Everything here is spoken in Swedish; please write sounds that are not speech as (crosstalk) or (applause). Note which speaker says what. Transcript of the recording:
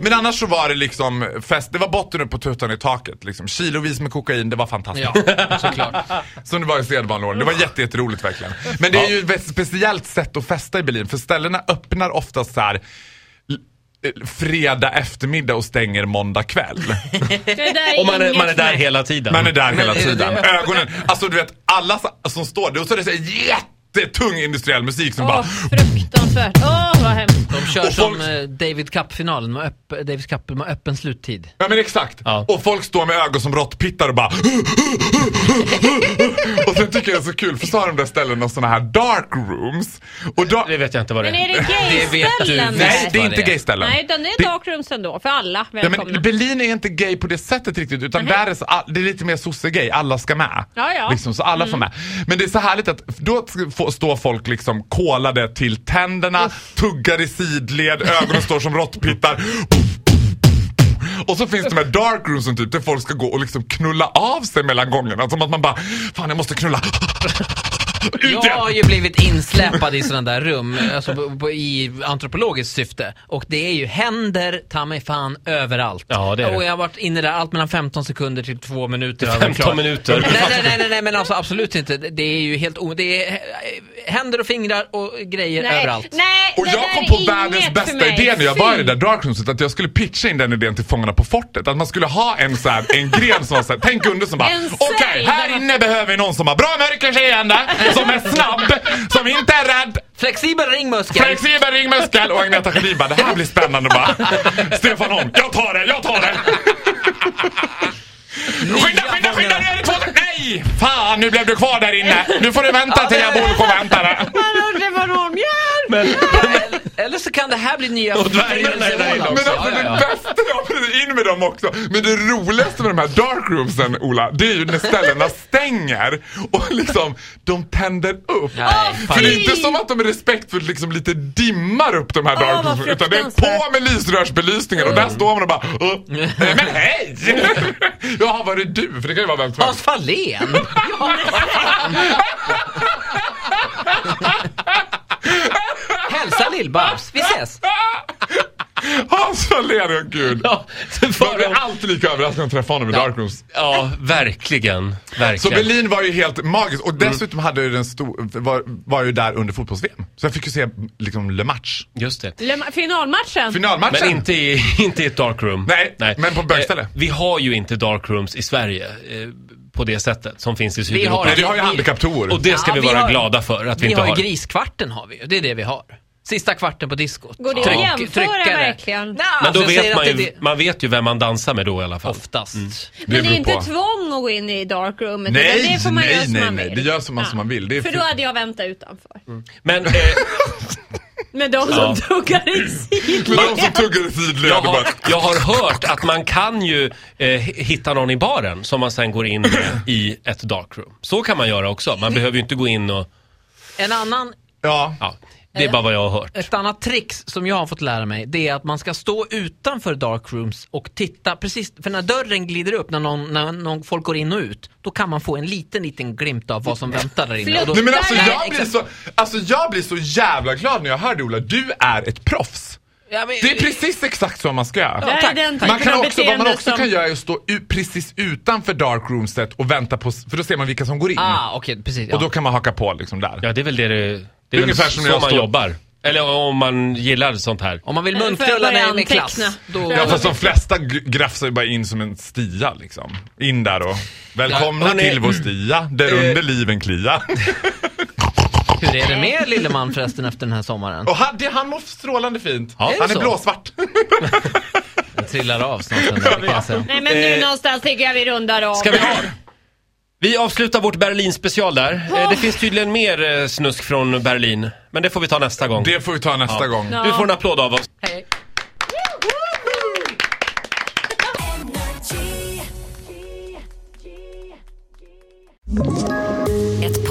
Speaker 1: Men annars så var det liksom fest, det var botten upp på tuttan i taket liksom. Kilovis med kokain, det var fantastiskt.
Speaker 2: Ja, såklart.
Speaker 1: Som det var i sedvanlig Det var jätte- jätteroligt verkligen. Men det är ju ett speciellt sätt att festa i Berlin för ställena öppnar oftast så här l- eh, fredag eftermiddag och stänger måndag kväll.
Speaker 3: Det där
Speaker 4: Och (laughs) man är,
Speaker 3: inget
Speaker 4: man är där
Speaker 3: snack.
Speaker 4: hela tiden.
Speaker 1: Man är där hela
Speaker 2: (laughs) Men eh, är det
Speaker 1: tiden.
Speaker 2: det?
Speaker 1: Ögonen, alltså du vet alla sa- som står där och så är det så här jättetung industriell musik som
Speaker 3: Åh,
Speaker 1: bara
Speaker 3: fruktansvärt. Åh, vad hemskt.
Speaker 2: De kör
Speaker 1: Och folk-
Speaker 2: som eh, David Cup-finalen med, öpp, David Cup med öppen sluttid.
Speaker 1: Ja men exakt.
Speaker 4: Ja.
Speaker 1: Och folk står med ögon som råttpittar och bara Och sen tycker jag det är så kul för så har de där ställena såna här dark rooms. Och då...
Speaker 4: Det vet jag inte vad det
Speaker 3: Men är
Speaker 4: är.
Speaker 3: det gay-ställen?
Speaker 2: du
Speaker 1: Nej
Speaker 2: Visst
Speaker 1: det är
Speaker 2: vad
Speaker 1: inte
Speaker 2: det är.
Speaker 1: gayställen.
Speaker 3: Nej, utan det är darkrooms ändå, för alla.
Speaker 1: Ja,
Speaker 3: Välkomna.
Speaker 1: men Berlin är inte gay på det sättet riktigt utan där är så, all- det är lite mer sosse-gay, alla ska med.
Speaker 3: Ja, ja. Mm.
Speaker 1: Liksom, så alla får med. Men det är så härligt att då t- få- står folk liksom kolade till tänderna, tuggar i sidled, ögonen står som råttpittar. Och så finns de här dark rooms som typ där folk ska gå och liksom knulla av sig mellan gångerna. Som att man bara, fan jag måste knulla. (laughs) Ut igen.
Speaker 2: Jag har ju blivit insläpad i sådana där rum, alltså på, på, i antropologiskt syfte. Och det är ju händer, ta mig fan, överallt.
Speaker 4: Ja, det är det.
Speaker 2: Och jag har varit inne där allt mellan 15 sekunder till 2 minuter. över
Speaker 4: 15
Speaker 2: klart.
Speaker 4: (laughs) minuter.
Speaker 2: Nej, nej, nej, nej, nej, men alltså absolut inte. Det- Det är ju helt o... Det är eh, händer och fingrar och grejer
Speaker 3: Nej,
Speaker 2: överallt.
Speaker 3: Nej,
Speaker 1: Och
Speaker 3: det
Speaker 1: jag
Speaker 3: där
Speaker 1: kom
Speaker 3: är
Speaker 1: på
Speaker 3: inget
Speaker 1: världens
Speaker 3: för
Speaker 1: bästa
Speaker 3: mig.
Speaker 1: idé när jag var i det
Speaker 3: Fy.
Speaker 1: där darkrumset att jag skulle pitcha in den idén till Fångarna på fortet. Att man skulle ha en, så här, en gren som var så här, tänk under som bara
Speaker 3: En
Speaker 1: okej,
Speaker 3: säg.
Speaker 1: här inne behöver vi någon som har bra mörkerseende, som är snabb, som inte är rädd,
Speaker 2: Flexibel ringmuskel.
Speaker 1: flexibel ringmuskel och Agneta Sjödin bara, det här blir spännande bara. Stefan Holm, jag tar det, jag tar det! Skynda, skynda, skynda! Nu är det två... Nej! Fan, nu blev du kvar där inne. Nu får du vänta till jag borde och vänta där.
Speaker 4: Men,
Speaker 2: Eller så kan det här bli nya
Speaker 4: Och dvärgen är
Speaker 2: förnyelsemål
Speaker 4: där inne
Speaker 2: också.
Speaker 1: Men alltså
Speaker 2: Ja, ja, ja.
Speaker 1: det bästa, ja, precis, in med dem också. Men det roligaste med de här dark roomsen, Ola, det är ju när ställena stänger och liksom de tänder upp.
Speaker 2: Nej,
Speaker 1: För det är
Speaker 2: fan.
Speaker 1: inte som att de respektfullt liksom lite dimmar upp de här
Speaker 3: Åh,
Speaker 1: dark
Speaker 3: vad
Speaker 1: roomsen utan det är på
Speaker 3: fruktansvärt.
Speaker 1: med lysrörsbelysningen och där står man och bara "Åh, nej, Men hej! (laughs) Jaha, var det du? För det kan ju vara vem som
Speaker 2: Hans
Speaker 1: helst.
Speaker 2: Fahlén! Hälsa Lill-Babs, vi ses!
Speaker 1: Hans Fahlén, ja gud.
Speaker 4: ja, det
Speaker 1: Man
Speaker 4: var
Speaker 1: blir alltid lika överraskad när man träffar honom i dark rooms.
Speaker 4: ja, verkligen.
Speaker 1: Så
Speaker 4: Verkligen.
Speaker 1: Berlin var ju helt magiskt och
Speaker 3: Mm.
Speaker 1: dessutom hade ju den stor, var, var ju där under fotbolls-VM. Så jag fick ju se liksom Le Match.
Speaker 4: Just det.
Speaker 3: Lema- Finalmatchen?
Speaker 1: Finalmatchen!
Speaker 4: Men inte i, (laughs) inte i ett darkroom.
Speaker 1: Nej, men på bögställe.
Speaker 4: Eh, vi har ju inte darkrooms i Sverige eh, på det sättet som finns i Sydeuropa.
Speaker 2: har-
Speaker 1: Nej, vi har ju
Speaker 2: Vi-
Speaker 1: handikapptour.
Speaker 4: Och det ska
Speaker 2: Ja,
Speaker 4: vi
Speaker 2: vi
Speaker 4: vara
Speaker 2: har-
Speaker 4: glada för att vi,
Speaker 2: Vi
Speaker 4: inte
Speaker 2: har ju
Speaker 4: har.
Speaker 2: griskvarten har vi ju, det är det vi har. Sista kvarten på diskot.
Speaker 3: Går det att jämföra verkligen?
Speaker 2: Nja,
Speaker 4: Men då
Speaker 2: alltså, jag
Speaker 4: vet
Speaker 2: säger
Speaker 4: man
Speaker 2: att
Speaker 4: ju,
Speaker 2: det-
Speaker 4: man vet ju vem man dansar med då i alla fall.
Speaker 2: Oftast.
Speaker 1: Det
Speaker 3: Men det är
Speaker 1: beror
Speaker 3: inte
Speaker 1: på.
Speaker 3: tvång att gå in i darkroomet.
Speaker 1: Nej,
Speaker 3: utan det får man
Speaker 1: nej,
Speaker 3: göra som
Speaker 1: nej,
Speaker 3: man
Speaker 1: nej.
Speaker 3: vill.
Speaker 1: Det gör som man- som man vill. Det är
Speaker 3: för
Speaker 1: för-
Speaker 3: då hade jag väntat utanför.
Speaker 4: Men eh,
Speaker 1: (laughs)
Speaker 3: Med de som
Speaker 4: Ja.
Speaker 3: tuggar i sidled.
Speaker 1: Men de som tuggar i sidled
Speaker 4: jag,
Speaker 1: och bara...
Speaker 4: har, jag har hört att man kan ju eh, hitta någon i baren som man sen går in med i ett darkroom. Så kan man göra också. Man behöver ju inte gå in och...
Speaker 2: En annan
Speaker 1: Ja.
Speaker 4: Ja, det är bara vad jag har hört.
Speaker 2: Ett annat trix som jag har fått lära mig det är att man ska stå utanför dark rooms och titta precis, för när dörren glider upp, när, någon, när någon, folk går in och ut, då kan man få en liten, liten glimt av vad som väntar där inne. Och då,
Speaker 1: Nej men alltså
Speaker 3: Där är-
Speaker 1: jag blir så, alltså jag blir så jävla glad när jag hör det Ola. Du är ett proffs.
Speaker 2: Ja, men-
Speaker 1: Det är precis exakt så man ska göra.
Speaker 3: Det här
Speaker 2: tack.
Speaker 3: är den
Speaker 1: Man
Speaker 3: typen
Speaker 1: kan
Speaker 3: av
Speaker 1: också, vad man
Speaker 3: beteende
Speaker 1: också
Speaker 3: som-
Speaker 1: kan göra är att stå u- precis utanför dark roomset och vänta på, s- för då ser man vilka som går in.
Speaker 2: Ah, okej, precis. Ja.
Speaker 1: Och då kan man haka på liksom där.
Speaker 4: Ja, det är väl det det, det är
Speaker 1: Ungefär
Speaker 4: väl
Speaker 1: som
Speaker 4: så
Speaker 1: när jag
Speaker 4: man
Speaker 1: står-
Speaker 4: jobbar. Eller om man gillar sånt här.
Speaker 2: Om man vill
Speaker 3: Får jag
Speaker 2: muntrulla
Speaker 3: börja
Speaker 2: med, med klass,
Speaker 3: anteckna?
Speaker 2: då...
Speaker 1: Ja fast de flesta g- grafsar ju bara in som en stia liksom. In där och välkomna
Speaker 4: Ja, hörni,
Speaker 1: till vår stia, där under liven klia.
Speaker 2: Hur är det med Lilleman förresten efter den här sommaren?
Speaker 1: Och han, det, han mår strålande fint.
Speaker 2: Är det
Speaker 1: han är
Speaker 2: så?
Speaker 1: blåsvart.
Speaker 2: Den trillar av snart den där, kan jag säga.
Speaker 3: Nej men nu
Speaker 4: Eh,
Speaker 3: någonstans tycker jag vi rundar av.
Speaker 4: Ska vi ha? Vi avslutar vårt Berlin-special där. Eh, Det finns tydligen mer eh, snusk från Berlin. Men det får vi ta nästa gång.
Speaker 1: Det får vi ta nästa gång.
Speaker 3: Ja.
Speaker 4: Du får en applåd av oss.
Speaker 3: Hej.
Speaker 5: Ett